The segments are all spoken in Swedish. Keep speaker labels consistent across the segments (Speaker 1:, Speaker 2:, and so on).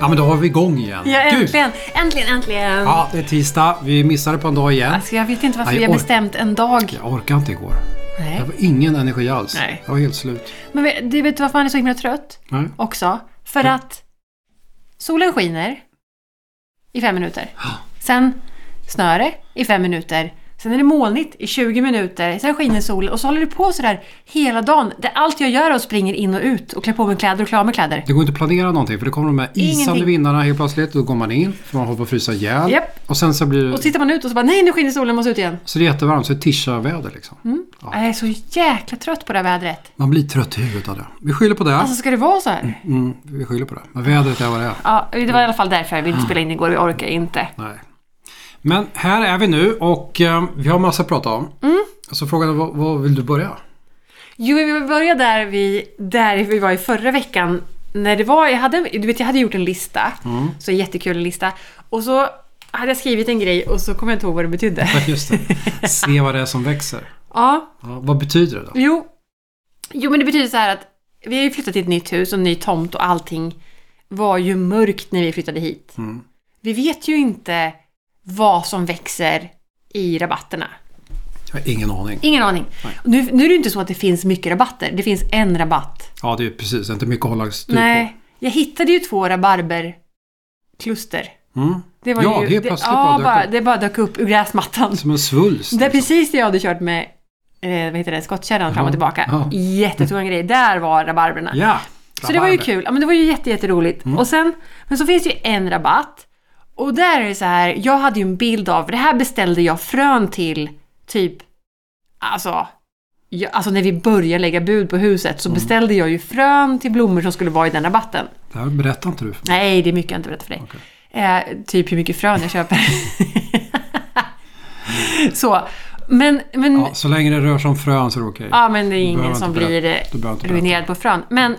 Speaker 1: Ja men då var vi igång igen.
Speaker 2: Ja,
Speaker 1: Du!
Speaker 2: äntligen, äntligen, äntligen.
Speaker 1: Ja, det är tisdag. Vi missade på en dag igen.
Speaker 2: Alltså, jag vet inte varför
Speaker 1: Nej,
Speaker 2: vi har
Speaker 1: ork-
Speaker 2: bestämt en dag.
Speaker 1: Jag orkade inte igår.
Speaker 2: Nej.
Speaker 1: Jag var ingen energi alls.
Speaker 2: Nej.
Speaker 1: Jag var helt slut.
Speaker 2: Men vet- du vet varför man är så himla trött
Speaker 1: Nej.
Speaker 2: också? För
Speaker 1: Ja.
Speaker 2: att solen skiner i fem minuter. Sen snöar det i fem minuter. Sen är det molnigt i 20 minuter. Sen skiner solen och så håller det på sådär hela dagen. Det allt jag gör är att springer in och ut och klär på mig kläder och klär av mig kläder.
Speaker 1: Det går inte att planera någonting för det kommer de här isande
Speaker 2: Ingenting.
Speaker 1: vindarna helt plötsligt. Då går man in för man håller på att frysa ihjäl.
Speaker 2: Japp.
Speaker 1: Och sen så blir
Speaker 2: Och så
Speaker 1: det,
Speaker 2: tittar man ut och så bara nej nu skiner solen, jag måste ut igen.
Speaker 1: så det är jättevarmt så det är tisha-väder liksom.
Speaker 2: Mm.
Speaker 1: Ja.
Speaker 2: Jag är så jäkla trött på det här vädret.
Speaker 1: Man blir trött i huvudet av det. Vi skyller på det.
Speaker 2: Alltså ska det vara så här?
Speaker 1: Mm, vi skyller på det. Men vädret är vad det är.
Speaker 2: Ja, det var i alla fall därför jag ville spela in igår, vi orkar inte.
Speaker 1: Nej. Men här är vi nu och eh, vi har massa att prata om.
Speaker 2: Mm.
Speaker 1: Så frågan är, vad, vad vill du börja?
Speaker 2: Jo, vi vill börja där vi, där vi var i förra veckan. När det var, jag hade, du vet, jag hade gjort en lista, så en jättekul lista. Och så hade jag skrivit en grej och så kommer jag inte ihåg vad det betydde.
Speaker 1: Ja, Just det. Se vad det är som växer.
Speaker 2: Ja,
Speaker 1: Ja, vad betyder det då?
Speaker 2: jo. Jo, men det betyder så här att vi har ju flyttat till ett nytt hus och ny tomt och allting var ju mörkt när vi flyttade hit.
Speaker 1: Mm.
Speaker 2: Vi vet ju inte vad som växer i rabatterna.
Speaker 1: Jag har ingen aning.
Speaker 2: Ingen aning. Nu, nu är det inte så att det finns mycket rabatter. Det finns en rabatt.
Speaker 1: Ja, det är precis. Inte mycket att hålla styr
Speaker 2: Nej, jag hittade ju två rabarberkluster.
Speaker 1: på. Mm.
Speaker 2: Det
Speaker 1: Ja, det är plötsligt bara
Speaker 2: ja,
Speaker 1: dök
Speaker 2: bara,
Speaker 1: upp.
Speaker 2: det bara dök upp ur gräsmattan.
Speaker 1: Som en svulst.
Speaker 2: Det är
Speaker 1: liksom.
Speaker 2: precis det jag hade kört med eh, vad heter det, skottkärran fram och tillbaka.
Speaker 1: ja.
Speaker 2: Jättestora grejer. Där var rabarberna.
Speaker 1: Ja.
Speaker 2: Så det var ju
Speaker 1: rabarber.
Speaker 2: kul. Ja, men det var ju jätte, jätteroligt.
Speaker 1: Mm.
Speaker 2: Och sen, men så finns det ju en rabatt. Och där är det så här, jag hade ju en bild av, det här beställde jag frön till typ, alltså, jag, alltså när vi började lägga bud på huset
Speaker 1: Mm.
Speaker 2: så beställde jag ju frön till blommor som skulle vara i den rabatten.
Speaker 1: Det här berättar inte du för mig.
Speaker 2: Nej, det är mycket jag inte berättar för dig.
Speaker 1: Okej.
Speaker 2: Eh, typ hur mycket frön jag köper. så, men, men,
Speaker 1: Ja,
Speaker 2: ja.
Speaker 1: så länge det rör sig om frön så är det okej.
Speaker 2: men det
Speaker 1: Du behöver
Speaker 2: är ingen
Speaker 1: inte
Speaker 2: som
Speaker 1: berätta.
Speaker 2: blir eh,
Speaker 1: Du behöver inte berätta.
Speaker 2: ruinerad på frön. Men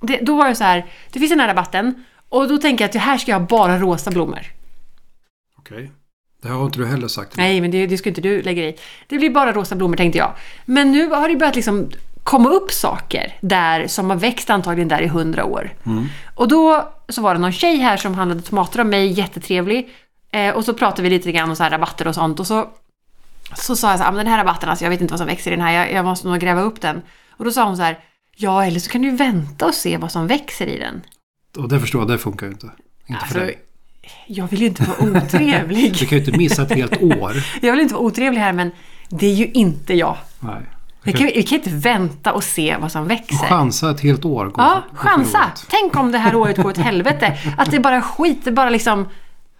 Speaker 2: det, då var det så här, det finns den här rabatten och då tänker jag att det här ska jag ha bara rosa blommor.
Speaker 1: Okej. Det här har inte du heller sagt. till mig.
Speaker 2: Nej, men det, det skulle inte du lägga dig i. Det blir bara rosa blommor tänkte jag. Men nu har det börjat liksom komma upp saker där som har växt antagligen där i hundra år.
Speaker 1: Mm.
Speaker 2: Och då så var det någon tjej här som handlade tomater av mig, jättetrevlig. Eh, och så pratade vi lite grann om så här rabatter och sånt. Och så, så sa jag så här, "Ah, men den här rabatten, alltså, jag vet inte vad som växer i den här, jag, jag måste nog gräva upp den. Och då sa hon så här, ja eller så kan du vänta och se vad som växer i den.
Speaker 1: Och det förstår jag, det funkar ju inte. Inte
Speaker 2: Alltså,
Speaker 1: för dig.
Speaker 2: Jag vill ju inte vara otrevlig.
Speaker 1: Du kan ju inte missa ett helt år.
Speaker 2: Jag vill inte vara otrevlig här men det är ju inte jag.
Speaker 1: Nej.
Speaker 2: Vi
Speaker 1: Du
Speaker 2: kan,
Speaker 1: kan
Speaker 2: vi kan inte vänta och se vad som växer.
Speaker 1: chansa ett helt år. går
Speaker 2: Ja,
Speaker 1: för- går
Speaker 2: chansa!
Speaker 1: förlorat.
Speaker 2: Tänk om det här året går åt helvete. Att det är bara är skit, det är bara liksom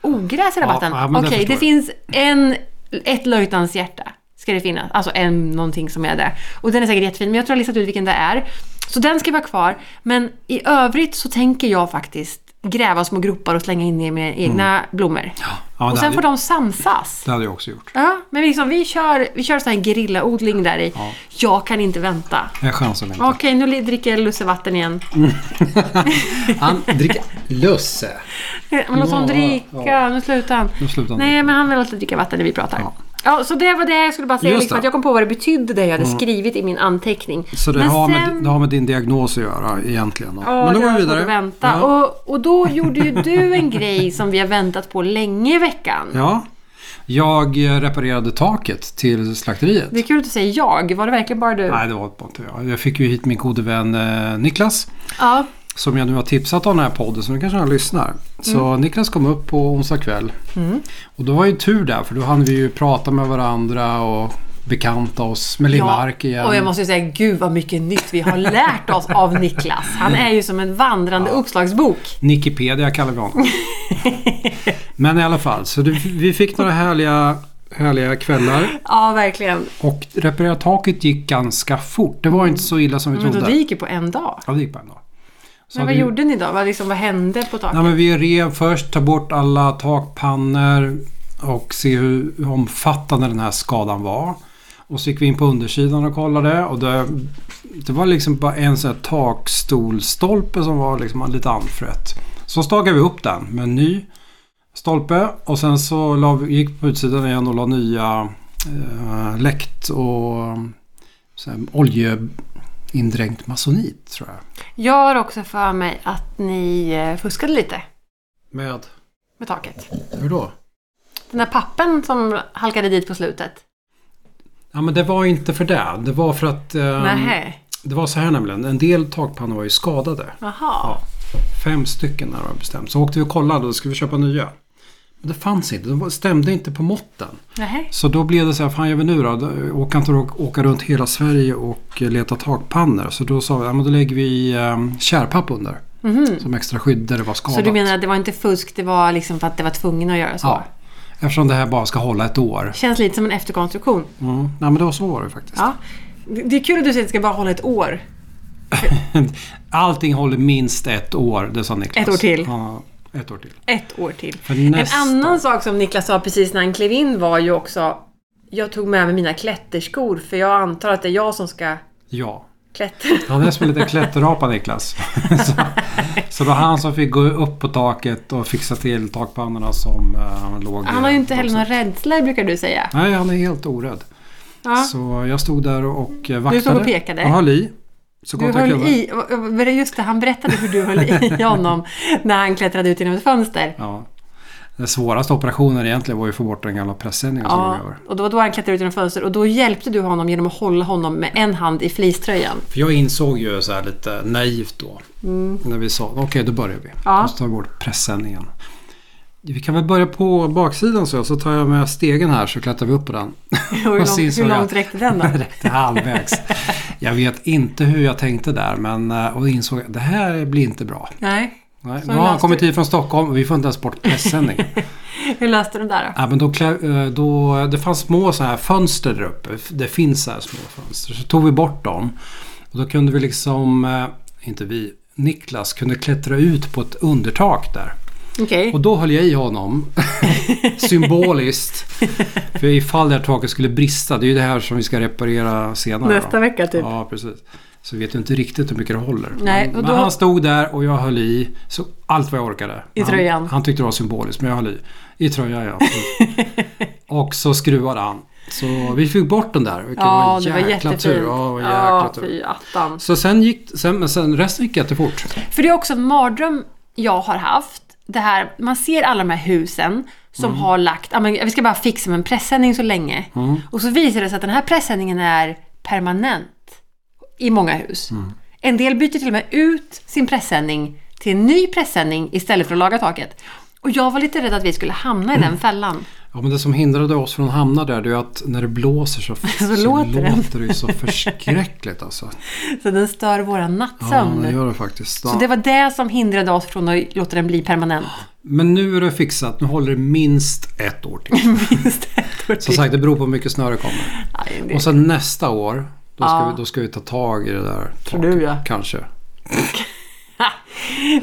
Speaker 2: ogräs i rabatten.
Speaker 1: ja, men det
Speaker 2: Okej,
Speaker 1: förstår
Speaker 2: det
Speaker 1: jag.
Speaker 2: finns en, ett löjtnants hjärta. Ska det finnas. Alltså en, någonting som är där. Och den är säkert jättefin, men jag tror jag har listat ut vilken det är. Så den ska vara kvar. Men i övrigt så tänker jag faktiskt gräva små gropar och slänga in i mina egna blommor.
Speaker 1: Mm. Ja, men
Speaker 2: och
Speaker 1: det,
Speaker 2: sen
Speaker 1: hade,
Speaker 2: får de samsas.
Speaker 1: det hade jag också gjort.
Speaker 2: Ja, men liksom, vi kör, vi kör sån här gerillaodling där i. Jag kan inte vänta.
Speaker 1: Jag chansar inte.
Speaker 2: Okej, nu li- dricker jag lussevatten igen.
Speaker 1: Han dricker lösse.
Speaker 2: Eh, Men låt honom
Speaker 1: Ja,
Speaker 2: dricka,
Speaker 1: ja.
Speaker 2: nu slutar han.
Speaker 1: Nu slutar han
Speaker 2: Nej,
Speaker 1: dricka.
Speaker 2: men han vill alltid dricka vatten när vi pratar. Ja. så det var det jag skulle bara säga.
Speaker 1: Just
Speaker 2: Liksom,
Speaker 1: det. Mm.
Speaker 2: att jag kom på vad det betydde, det jag hade skrivit i min anteckning.
Speaker 1: Så det
Speaker 2: men
Speaker 1: har, med, det har med din diagnos att göra egentligen. då.
Speaker 2: Ja,
Speaker 1: men då
Speaker 2: det
Speaker 1: går vi
Speaker 2: var svårt
Speaker 1: vidare.
Speaker 2: att vänta.
Speaker 1: Ja.
Speaker 2: Och, och då gjorde ju du en grej som vi har väntat på länge i veckan.
Speaker 1: ja. Jag eh, reparerade taket till slakteriet.
Speaker 2: Det är kul att du säger jag. Var det verkligen bara du?
Speaker 1: Nej, det var inte jag. Jag fick ju hit min gode vän eh, Niklas.
Speaker 2: Ja.
Speaker 1: Som jag nu har tipsat om den här podden så nu kanske han lyssnar. Så
Speaker 2: Mm.
Speaker 1: Niklas kom upp på onsdag kväll. Och då var ju tur där för då hann vi ju prata med varandra och bekanta oss med Limark igen.
Speaker 2: Och jag måste ju säga, gud vad mycket nytt vi har lärt oss av Niklas. Han är ju som en vandrande uppslagsbok.
Speaker 1: Nikipedia kallar vi honom. Men i alla fall, så det, vi fick några härliga, härliga kvällar.
Speaker 2: Ja, verkligen.
Speaker 1: Och reparera taket gick ganska fort. Det var inte så illa som vi
Speaker 2: Men då det
Speaker 1: trodde.
Speaker 2: gick ju på en dag.
Speaker 1: Ja, det gick på en dag. Så
Speaker 2: Men vad
Speaker 1: vi,
Speaker 2: gjorde ni då? Vad, liksom, vad hände på taket?
Speaker 1: Nej, men vi rev först, ta bort alla takpannor och se hur hur omfattande den här skadan var. Och så gick vi in på undersidan och kollade och det, det var liksom bara en sån här takstolstolpe som var liksom lite anfrätt. Så stagade vi upp den med en ny stolpe och sen så la, vi- gick vi på utsidan igen och la nya eh, läkt och så här, oljeindränkt masonit tror jag.
Speaker 2: Jag har också för mig att ni eh, fuskade lite
Speaker 1: Med?
Speaker 2: med taket.
Speaker 1: Hur då?
Speaker 2: Den där pappen som halkade dit på slutet.
Speaker 1: Ja men det var inte för det. Det var för att... ehm,
Speaker 2: Nähä.
Speaker 1: Det var så här nämligen. En del takpannor var ju skadade.
Speaker 2: Jaha.
Speaker 1: Fem stycken när det var bestämt. Så åkte vi och kollade och skulle vi köpa nya. Men det fanns inte. De var- stämde inte på måtten.
Speaker 2: Nähä.
Speaker 1: Så då blev det så här, fan gör vi nu då? Då Åker inte och åka runt hela Sverige och leta takpannor. Så då sa vi, ja men då lägger vi um, kärpapp under. Som extra skydd där det var skadat.
Speaker 2: Mhm. Så du menar att det var inte fusk, det var liksom för att det var tvungen att göra så?
Speaker 1: Ja. Eftersom det här bara ska hålla ett år.
Speaker 2: Känns lite som en efterkonstruktion.
Speaker 1: Mm. Nej men det var så var det faktiskt.
Speaker 2: Ja. Det det är kul att du säger att det ska bara hålla ett år.
Speaker 1: Allting håller minst ett år, det sa Niklas.
Speaker 2: Ett år till.
Speaker 1: Ja, ett år till.
Speaker 2: Ett år till.
Speaker 1: För nästa.
Speaker 2: En annan sak som Niklas sa precis när han klev in var ju också Jag tog med mig mina klätterskor för jag antar att det är jag som ska
Speaker 1: Ja.
Speaker 2: klättra.
Speaker 1: Han är som en liten klätterapa Niklas. så, så det var han som fick gå upp på taket och fixa till takpannorna som eh, låg...
Speaker 2: Han har ju inte heller någon rädsla brukar du säga.
Speaker 1: Nej, han är helt orädd.
Speaker 2: Ja.
Speaker 1: Så jag stod där och eh, vaktade.
Speaker 2: Du stod och pekade.
Speaker 1: Jag höll i. Så
Speaker 2: Du
Speaker 1: kontaktade
Speaker 2: höll
Speaker 1: jag-
Speaker 2: i, var det just det, han berättade hur du höll i honom när han klättrade ut genom ett fönster.
Speaker 1: Ja. Den svåraste operationen egentligen var ju att få bort den gamla pressändningen som
Speaker 2: Ja,
Speaker 1: låg över.
Speaker 2: och då var då han klättrade ut genom fönstret och då hjälpte du honom genom att hålla honom med en hand i fleecetröjan.
Speaker 1: För jag insåg ju så här lite naivt då. När vi sa okej då börjar vi.
Speaker 2: Mm. Ja.
Speaker 1: Då tar vi bort pressändningen. Vi kan väl börja på baksidan så, så tar jag med stegen här så klättrar vi upp på den.
Speaker 2: Och hur,
Speaker 1: Och så
Speaker 2: långt,
Speaker 1: insåg
Speaker 2: hur
Speaker 1: jag-
Speaker 2: långt räckte den då?
Speaker 1: räckte halvvägs. Jag vet inte hur jag tänkte där men eh, och insåg att det här blir inte bra.
Speaker 2: Nej.
Speaker 1: Nej,
Speaker 2: Så
Speaker 1: nu
Speaker 2: hur
Speaker 1: har han
Speaker 2: löste
Speaker 1: kommit
Speaker 2: du-
Speaker 1: hit från Stockholm och vi får inte ens bort pressändningen.
Speaker 2: Hur löste du det där då?
Speaker 1: ja, men då, klä- eh, då, det fanns små så här fönster där uppe. Det finns så här små fönster. Så tog vi bort dem. Och då kunde vi liksom, eh, inte vi, Niklas kunde klättra ut på ett undertak där.
Speaker 2: Okej.
Speaker 1: Och då höll jag i honom. Symboliskt. För ifall det här taket skulle brista. Det är ju det här som vi ska reparera senare. va?
Speaker 2: Nästa vecka typ.
Speaker 1: Ja, precis. Så vi vet ju inte riktigt hur mycket det håller.
Speaker 2: Nej,
Speaker 1: men,
Speaker 2: och
Speaker 1: men
Speaker 2: då-
Speaker 1: han stod där och jag höll i så allt vad jag orkade.
Speaker 2: I
Speaker 1: han,
Speaker 2: tröjan.
Speaker 1: Han tyckte det var symboliskt, men jag höll i. I tröjan, ja. och så skruvade han. Så vi fick bort den där, vilket var
Speaker 2: Ja,
Speaker 1: en
Speaker 2: det var
Speaker 1: jäkla
Speaker 2: jättefint.
Speaker 1: tur. Ja, det var en jäkla
Speaker 2: Ja,
Speaker 1: tur.
Speaker 2: fy attan.
Speaker 1: Så sen gick sen, men sen resten gick jättefort.
Speaker 2: För det är också en mardröm jag har haft. Det här, man ser alla de här husen som har lagt, ja, men vi ska bara fixa med en pressändning så länge. Och så visar det sig att den här pressändningen är permanent i många hus. En del byter till och med ut sin pressändning till en ny pressändning istället för att laga taket. Och jag var lite rädd att vi skulle hamna i den fällan.
Speaker 1: Ja, men det som hindrade oss från att hamna där det är ju att när det blåser så, så,
Speaker 2: låter den.
Speaker 1: låter det ju så förskräckligt alltså.
Speaker 2: Så den stör våran
Speaker 1: Ja,
Speaker 2: nattsömn.
Speaker 1: det gör det faktiskt. Ja.
Speaker 2: Så det var det som hindrade oss från att låta den bli permanent.
Speaker 1: Men nu är det fixat. Nu håller det minst ett år till.
Speaker 2: Minst ett år
Speaker 1: Som
Speaker 2: till.
Speaker 1: sagt, det beror på hur mycket snö det kommer.
Speaker 2: Aj, det-
Speaker 1: Och sen nästa år, då ska,
Speaker 2: Ja.
Speaker 1: vi, då ska vi ta tag i det där.
Speaker 2: Tror du, ja.
Speaker 1: Kanske.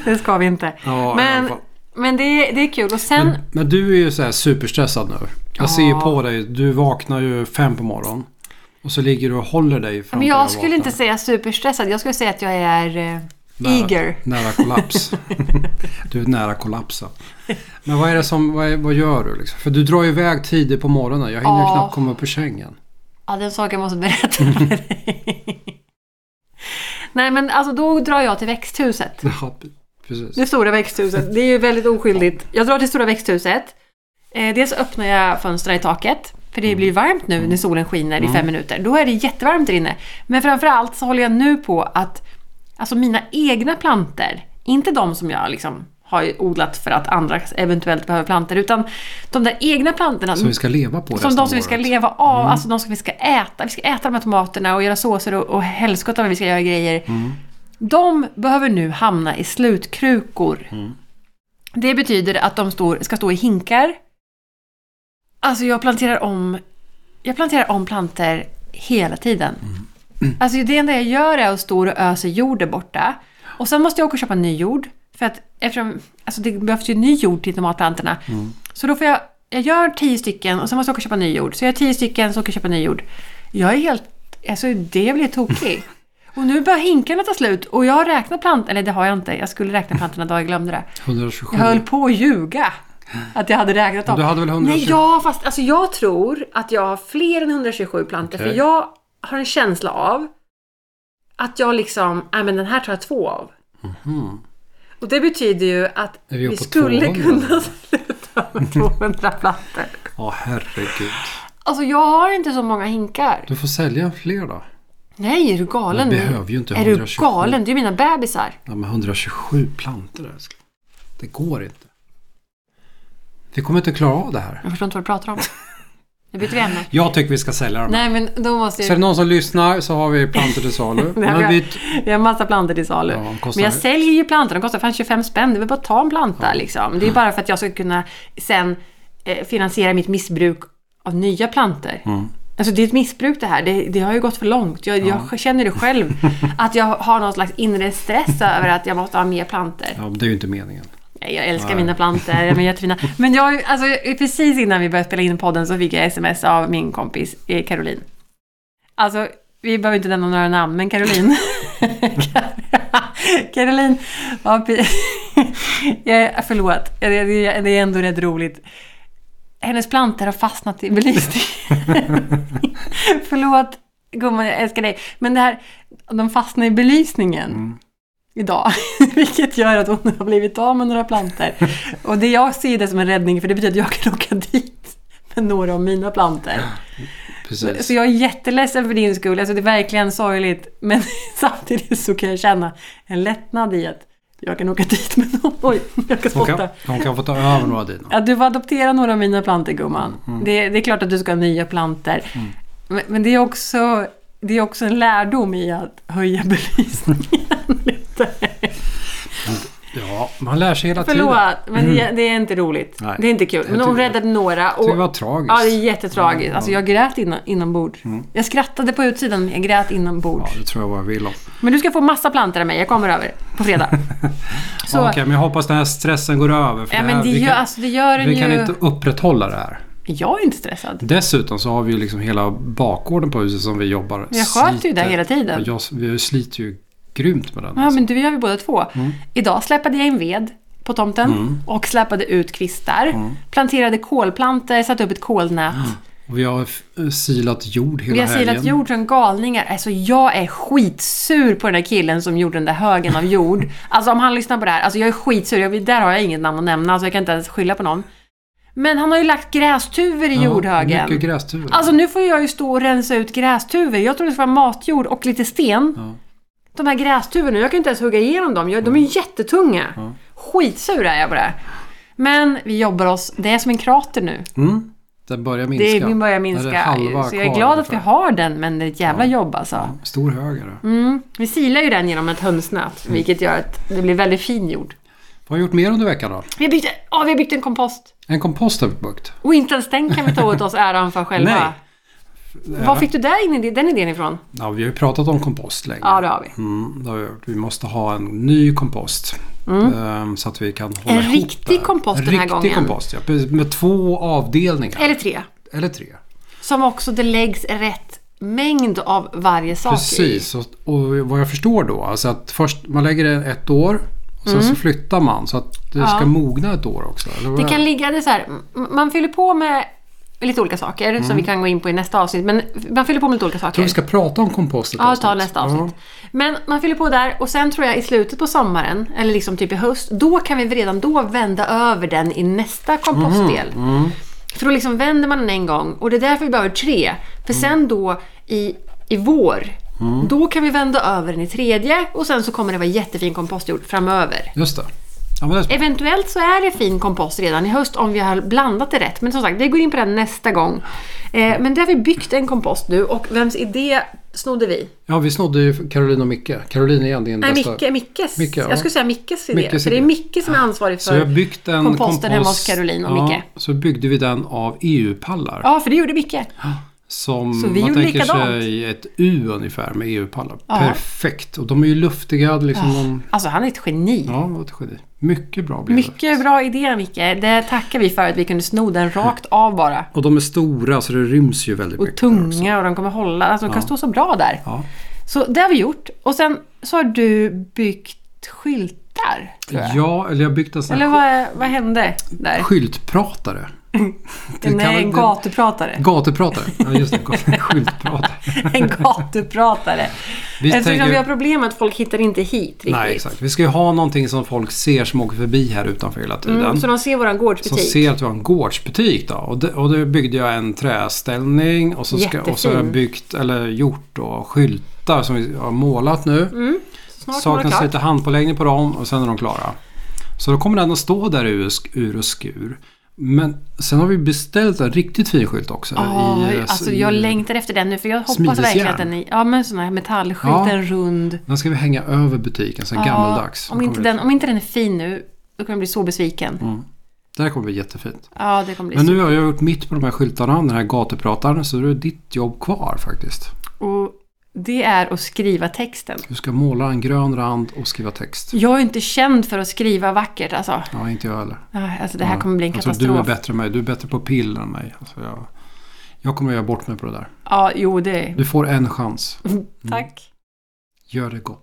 Speaker 2: Det ska vi inte.
Speaker 1: Ja, i alla
Speaker 2: men
Speaker 1: fall.
Speaker 2: men det, är- det är kul. Och sen,
Speaker 1: Men du är ju så här superstressad nu. Jag ser ju på dig. Du vaknar ju fem på morgonen. Och så ligger du och håller dig fram
Speaker 2: men
Speaker 1: till
Speaker 2: jag skulle
Speaker 1: vaknar.
Speaker 2: inte säga superstressad. Jag skulle säga att jag är eh,
Speaker 1: Nära-
Speaker 2: eager.
Speaker 1: Nära kollaps. du är nära kollapsen. Men vad är det som, vad, är, vad gör du liksom? För du drar ju iväg tidigt på morgonen. Jag hinner ju
Speaker 2: Ja.
Speaker 1: knappt komma upp ur sängen.
Speaker 2: Ja, den saken måste jag berätta för dig. Nej, men alltså då drar jag till växthuset.
Speaker 1: Ja, precis.
Speaker 2: Det stora växthuset. Det är ju väldigt oskyldigt. Jag drar till stora växthuset. Eh, dels öppnar jag fönstren i taket. För det blir ju varmt nu när solen skiner i fem minuter. Då är det jättevarmt där inne. Men framförallt så håller jag nu på att alltså mina egna planter, inte de som jag liksom har odlat för att andra eventuellt behöver planter, utan de där egna plantorna.
Speaker 1: Som vi ska leva på
Speaker 2: Som
Speaker 1: resten
Speaker 2: de
Speaker 1: av
Speaker 2: som vi ska
Speaker 1: året.
Speaker 2: leva av, alltså de som vi ska äta. Vi ska äta de här tomaterna och göra såser och, och helskotta vad vi ska göra grejer. De behöver nu hamna i slutkrukor. Det betyder att de står, ska stå i hinkar. Alltså jag planterar om, jag planterar om planter hela tiden. Alltså det enda jag gör är att stå och öser jord där borta. Och sen måste jag åka och köpa ny jord. För att eftersom, alltså det behövs ju ny jord till tomatplantorna. Så då får jag, jag gör tio stycken och sen måste jag åka och köpa ny jord. Så jag gör tio stycken, så åker jag köpa ny jord. Jag är helt, alltså det blir tokig. Och nu börjar hinkarna ta slut och jag har räknat plantor, eller det har jag inte, jag skulle räkna plantorna idag, jag glömde det.
Speaker 1: 127.
Speaker 2: Jag höll på att ljuga. Att jag hade räknat av.
Speaker 1: Du hade väl 120?
Speaker 2: Nej, ja, fast alltså, jag tror att jag har fler än 127 plantor
Speaker 1: Okej.
Speaker 2: För jag har en känsla av att jag liksom, nej men den här tar jag två av. Och det betyder ju att
Speaker 1: Mhm. Är vi
Speaker 2: vi,
Speaker 1: uppe på
Speaker 2: skulle
Speaker 1: 200?
Speaker 2: kunna sluta med 200 plantor.
Speaker 1: Ja, herregud.
Speaker 2: Alltså jag har inte så många hinkar.
Speaker 1: Du får sälja fler då.
Speaker 2: Nej, är du galen?
Speaker 1: Men behöver ju inte
Speaker 2: Är du
Speaker 1: 127.
Speaker 2: galen? Det är ju mina bebisar.
Speaker 1: Ja, men 127 plantor älskling. Det går inte. Vi kommer inte klara av det här.
Speaker 2: Jag förstår inte vad du pratar om. Nu byter vi ämne.
Speaker 1: Jag tycker vi ska sälja dem.
Speaker 2: Nej, men då måste
Speaker 1: Så är
Speaker 2: jag...
Speaker 1: det någon som lyssnar så har vi plantor till salu.
Speaker 2: Nej,
Speaker 1: men
Speaker 2: jag,
Speaker 1: vi,
Speaker 2: jag har massa plantor till salu.
Speaker 1: Ja, de kostar-
Speaker 2: men jag säljer ju plantor. De kostar fan 25 spänn. Det är väl bara att ta en planta liksom. Det är bara för att jag ska kunna sen eh, finansiera mitt missbruk av nya plantor.
Speaker 1: Mm.
Speaker 2: Alltså det är ett missbruk det här. Det, det har ju gått för långt. Jag, jag känner det själv. att jag har någon slags inre stress över att jag måste ha mer plantor.
Speaker 1: ja, det är ju inte meningen.
Speaker 2: Nej, Jag älskar mina plantor, de är jättefina. Men jag, har ju- alltså, precis innan vi började spela in podden så fick jag sms av min kompis eh, Caroline. Alltså, vi behöver inte nämna några namn, men Caroline. Caroline var... pi- jag, förlåt, det, det, det är ändå rätt roligt. Hennes plantor har fastnat i belysningen. förlåt, gumman, jag älskar dig. Men det här, de fastnar i belysningen idag. Vilket gör att hon har blivit av med några plantor. Och det jag ser det som en räddning för det betyder att jag kan åka dit med några av mina plantor.
Speaker 1: Precis.
Speaker 2: Så jag är jätteledsen för din skull. Alltså det är verkligen sorgligt. Men samtidigt så kan jag känna en lättnad i att jag kan åka dit med någon. Oj, jag kan
Speaker 1: Hon kan,
Speaker 2: spotta.
Speaker 1: hon kan få ta över några av dina.
Speaker 2: Ja, du får adoptera några av mina plantor gumman. Det, det är klart att du ska ha nya plantor. Men, men det, är också, det är också en lärdom i att höja belysningen lite.
Speaker 1: Ja, man lär sig hela tiden.
Speaker 2: Förlåt, men det, det är inte roligt.
Speaker 1: Nej.
Speaker 2: Det är inte kul.
Speaker 1: Jag
Speaker 2: Men hon
Speaker 1: tycker-
Speaker 2: räddade några. Och,
Speaker 1: tycker det var tragiskt.
Speaker 2: Ja, det är jättetragiskt. Alltså, jag grät inom, inombords. Jag skrattade på utsidan, men jag grät inombords.
Speaker 1: Mm. Ja, det tror jag vad jag vill om.
Speaker 2: Men du ska få massa plantor av mig. Jag kommer över på fredag. Så,
Speaker 1: Okej, men jag hoppas den här stressen går över. För
Speaker 2: ja,
Speaker 1: det här,
Speaker 2: men det
Speaker 1: vi
Speaker 2: gör,
Speaker 1: kan,
Speaker 2: alltså, det gör den
Speaker 1: vi kan
Speaker 2: ju...
Speaker 1: inte upprätthålla det här.
Speaker 2: Jag är inte stressad.
Speaker 1: Dessutom så har vi ju liksom hela bakgården på huset som vi jobbar.
Speaker 2: Jag sköter ju det hela tiden.
Speaker 1: Ja, Jag, vi sliter ju grymt med den. alltså.
Speaker 2: Ja, men du gör vi båda två.
Speaker 1: Mm.
Speaker 2: Idag släpade jag in ved på tomten och släpade ut kvistar.
Speaker 1: Mm.
Speaker 2: Planterade kolplantor, satte upp ett kolnät.
Speaker 1: Och vi har f- silat jord hela
Speaker 2: Vi har
Speaker 1: helgen.
Speaker 2: silat jord som galningar. Alltså jag är skitsur på den där killen som gjorde den där högen av jord. Alltså om han lyssnar på det här. Alltså jag är skitsur. Jag, där har jag inget namn att nämna, så jag kan inte ens skylla på någon. Men han har ju lagt grästuvor i
Speaker 1: Ja,
Speaker 2: jordhögen.
Speaker 1: Mycket grästuvor.
Speaker 2: Alltså nu får jag ju stå och rensa ut grästuvor. Jag trodde det skulle vara matjord och lite sten.
Speaker 1: Ja.
Speaker 2: De här grästuvorna, jag kan inte ens hugga igenom dem. Jag, de är ju jättetunga. Skitsur är jag på det. Men vi jobbar oss, det är som en krater nu.
Speaker 1: Mm. Den börjar minska.
Speaker 2: Det är, min börjar
Speaker 1: Där
Speaker 2: minska.
Speaker 1: är halva
Speaker 2: så jag är
Speaker 1: kvar
Speaker 2: glad att
Speaker 1: ungefär.
Speaker 2: vi har den, men det är ett jävla jobb alltså.
Speaker 1: Stor höger.
Speaker 2: Mm. Vi silar ju den genom ett hönsnät,
Speaker 1: Mm.
Speaker 2: vilket gör att det blir väldigt fin jord.
Speaker 1: Vad har du gjort mer under veckan då?
Speaker 2: Vi har byggt, åh, vi har byggt en kompost.
Speaker 1: En kompost har vi byggt.
Speaker 2: Och inte ens den kan vi ta åt oss äran för själva.
Speaker 1: Nej.
Speaker 2: Var fick du där in, den idén ifrån?
Speaker 1: Ja, vi har ju pratat om kompost länge.
Speaker 2: Ja, det har vi.
Speaker 1: Mm, det har vi, gjort. vi måste ha en ny kompost. ehm, Så att vi kan hålla
Speaker 2: Mm. En
Speaker 1: ihop
Speaker 2: riktig
Speaker 1: det.
Speaker 2: kompost
Speaker 1: en
Speaker 2: den här
Speaker 1: riktig
Speaker 2: gången.
Speaker 1: kompost, ja. Precis, Med två avdelningar. Eller,
Speaker 2: Eller tre.
Speaker 1: tre.
Speaker 2: Som också det läggs rätt mängd av varje sak i.
Speaker 1: Precis. Och, och vad jag förstår då, alltså att först man lägger det ett år och sen så flyttar man så att det
Speaker 2: Mm. Ja.
Speaker 1: ska mogna ett år också. Eller vad
Speaker 2: Det
Speaker 1: är
Speaker 2: kan ligga det är så här, m- man fyller på med lite olika saker
Speaker 1: Mm.
Speaker 2: som vi kan gå in på i nästa avsnitt. Men man fyller på med lite olika
Speaker 1: Jag tror
Speaker 2: saker.
Speaker 1: vi ska prata om kompost ett
Speaker 2: Ja,
Speaker 1: avsnitt.
Speaker 2: ta nästa avsnitt. Men man fyller på där och sen tror jag i slutet på sommaren, eller liksom typ i höst, då kan vi redan då vända över den i nästa kompostdel. För då liksom vänder man den en gång och det är därför vi behöver tre. För sen då i, i vår, då kan vi vända över den i tredje och sen så kommer det vara jättefin kompostjord framöver.
Speaker 1: Ja, just det. Ja, men det är smart.
Speaker 2: Eventuellt så är det fin kompost redan i höst om vi har blandat det rätt. Men som sagt, vi går in på den nästa gång. Eh, men där har vi byggt en kompost nu och vems idé snodde vi?
Speaker 1: ja, vi snodde ju Caroline och Micke. Caroline är egentligen
Speaker 2: Nej,
Speaker 1: bästa.
Speaker 2: Micke, Mickes.
Speaker 1: Micke, ja.
Speaker 2: Jag skulle säga Mickes idé.
Speaker 1: Mickes
Speaker 2: för det är
Speaker 1: idé.
Speaker 2: Micke som är ansvarig
Speaker 1: Så vi har
Speaker 2: för...
Speaker 1: byggt en
Speaker 2: Komposten
Speaker 1: kompost.
Speaker 2: hemma hos Caroline och
Speaker 1: ja,
Speaker 2: Micke.
Speaker 1: Så byggde vi den av EU-pallar.
Speaker 2: Ja, för det gjorde Micke.
Speaker 1: Som
Speaker 2: Så vi
Speaker 1: man
Speaker 2: gjorde
Speaker 1: tänker
Speaker 2: likadant.
Speaker 1: sig ett U ungefär med EU-pallar.
Speaker 2: Ja.
Speaker 1: Perfekt. Och de är ju luftiga. Liksom de,
Speaker 2: Alltså, han är ett geni.
Speaker 1: ja, vad ett geni. Mycket bra blev det.
Speaker 2: Mycket bra idé, Micke. Det tackar vi för att vi kunde sno den rakt av bara.
Speaker 1: Och de är stora så det ryms ju väldigt
Speaker 2: Och
Speaker 1: mycket. där också.
Speaker 2: tunga och de kommer hålla. Alltså, de kan stå så bra där.
Speaker 1: Ja.
Speaker 2: Så det har vi gjort. Och sen så har du byggt skylt skyltar. Tror jag.
Speaker 1: Ja, eller jag har byggt en sån
Speaker 2: Eller
Speaker 1: här
Speaker 2: vad, vad hände där?
Speaker 1: skyltpratare. Det kan
Speaker 2: Nej,
Speaker 1: väl-
Speaker 2: en gatupratare.
Speaker 1: Gatupratare. Ja, just det. Skyltpratare.
Speaker 2: En gatupratare.
Speaker 1: Vi
Speaker 2: Eftersom
Speaker 1: tänker-
Speaker 2: vi har problem att folk hittar inte hit riktigt.
Speaker 1: Nej, exakt. Vi ska ju ha någonting som folk ser som åker förbi här utanför hela tiden.
Speaker 2: Mm, så de ser våran
Speaker 1: som
Speaker 2: gårdsbutik.
Speaker 1: ser att vi har en gårdsbutik. Då. Och, det, och då byggde jag en träställning och så, ska, och så har jag
Speaker 2: Jättefin.
Speaker 1: byggt, eller gjort då, skyltar som vi har målat nu.
Speaker 2: Snart kommer det
Speaker 1: Saknas
Speaker 2: Mm, klart.
Speaker 1: lite handpåläggning på dem och sen är de klara. Så då kommer den att stå där ur, ur och skur. Men sen har vi beställt en riktigt fin skylt också.
Speaker 2: Ja,
Speaker 1: i, eh,
Speaker 2: alltså
Speaker 1: i-
Speaker 2: jag längtar efter den nu för jag hoppas
Speaker 1: Smidesjärn.
Speaker 2: verkligen att den är... Ja, men sån här metallskylt,
Speaker 1: Ja.
Speaker 2: en rund.
Speaker 1: Den ska vi hänga över butiken, sen
Speaker 2: Ja,
Speaker 1: gammaldags.
Speaker 2: Om inte,
Speaker 1: kommer
Speaker 2: den, om inte den är fin nu, då kommer jag bli så besviken.
Speaker 1: Det här kommer bli jättefint.
Speaker 2: Ja, det kommer bli
Speaker 1: Men
Speaker 2: så.
Speaker 1: nu har jag gjort mitt på de här skyltarna, den här gatuprataren, så det är ditt jobb kvar faktiskt.
Speaker 2: Och det är att skriva texten.
Speaker 1: Du ska måla en grön rand och skriva text.
Speaker 2: Jag är inte känd för att skriva vackert alltså.
Speaker 1: Ja, inte jag heller.
Speaker 2: Ja, Alltså det här kommer bli en
Speaker 1: alltså,
Speaker 2: katastrof.
Speaker 1: du är bättre än mig. Du är bättre på piller än mig. Alltså, jag, jag kommer göra bort mig på det där.
Speaker 2: Ja, jo det...
Speaker 1: Du får en chans.
Speaker 2: Tack.
Speaker 1: Gör det gott.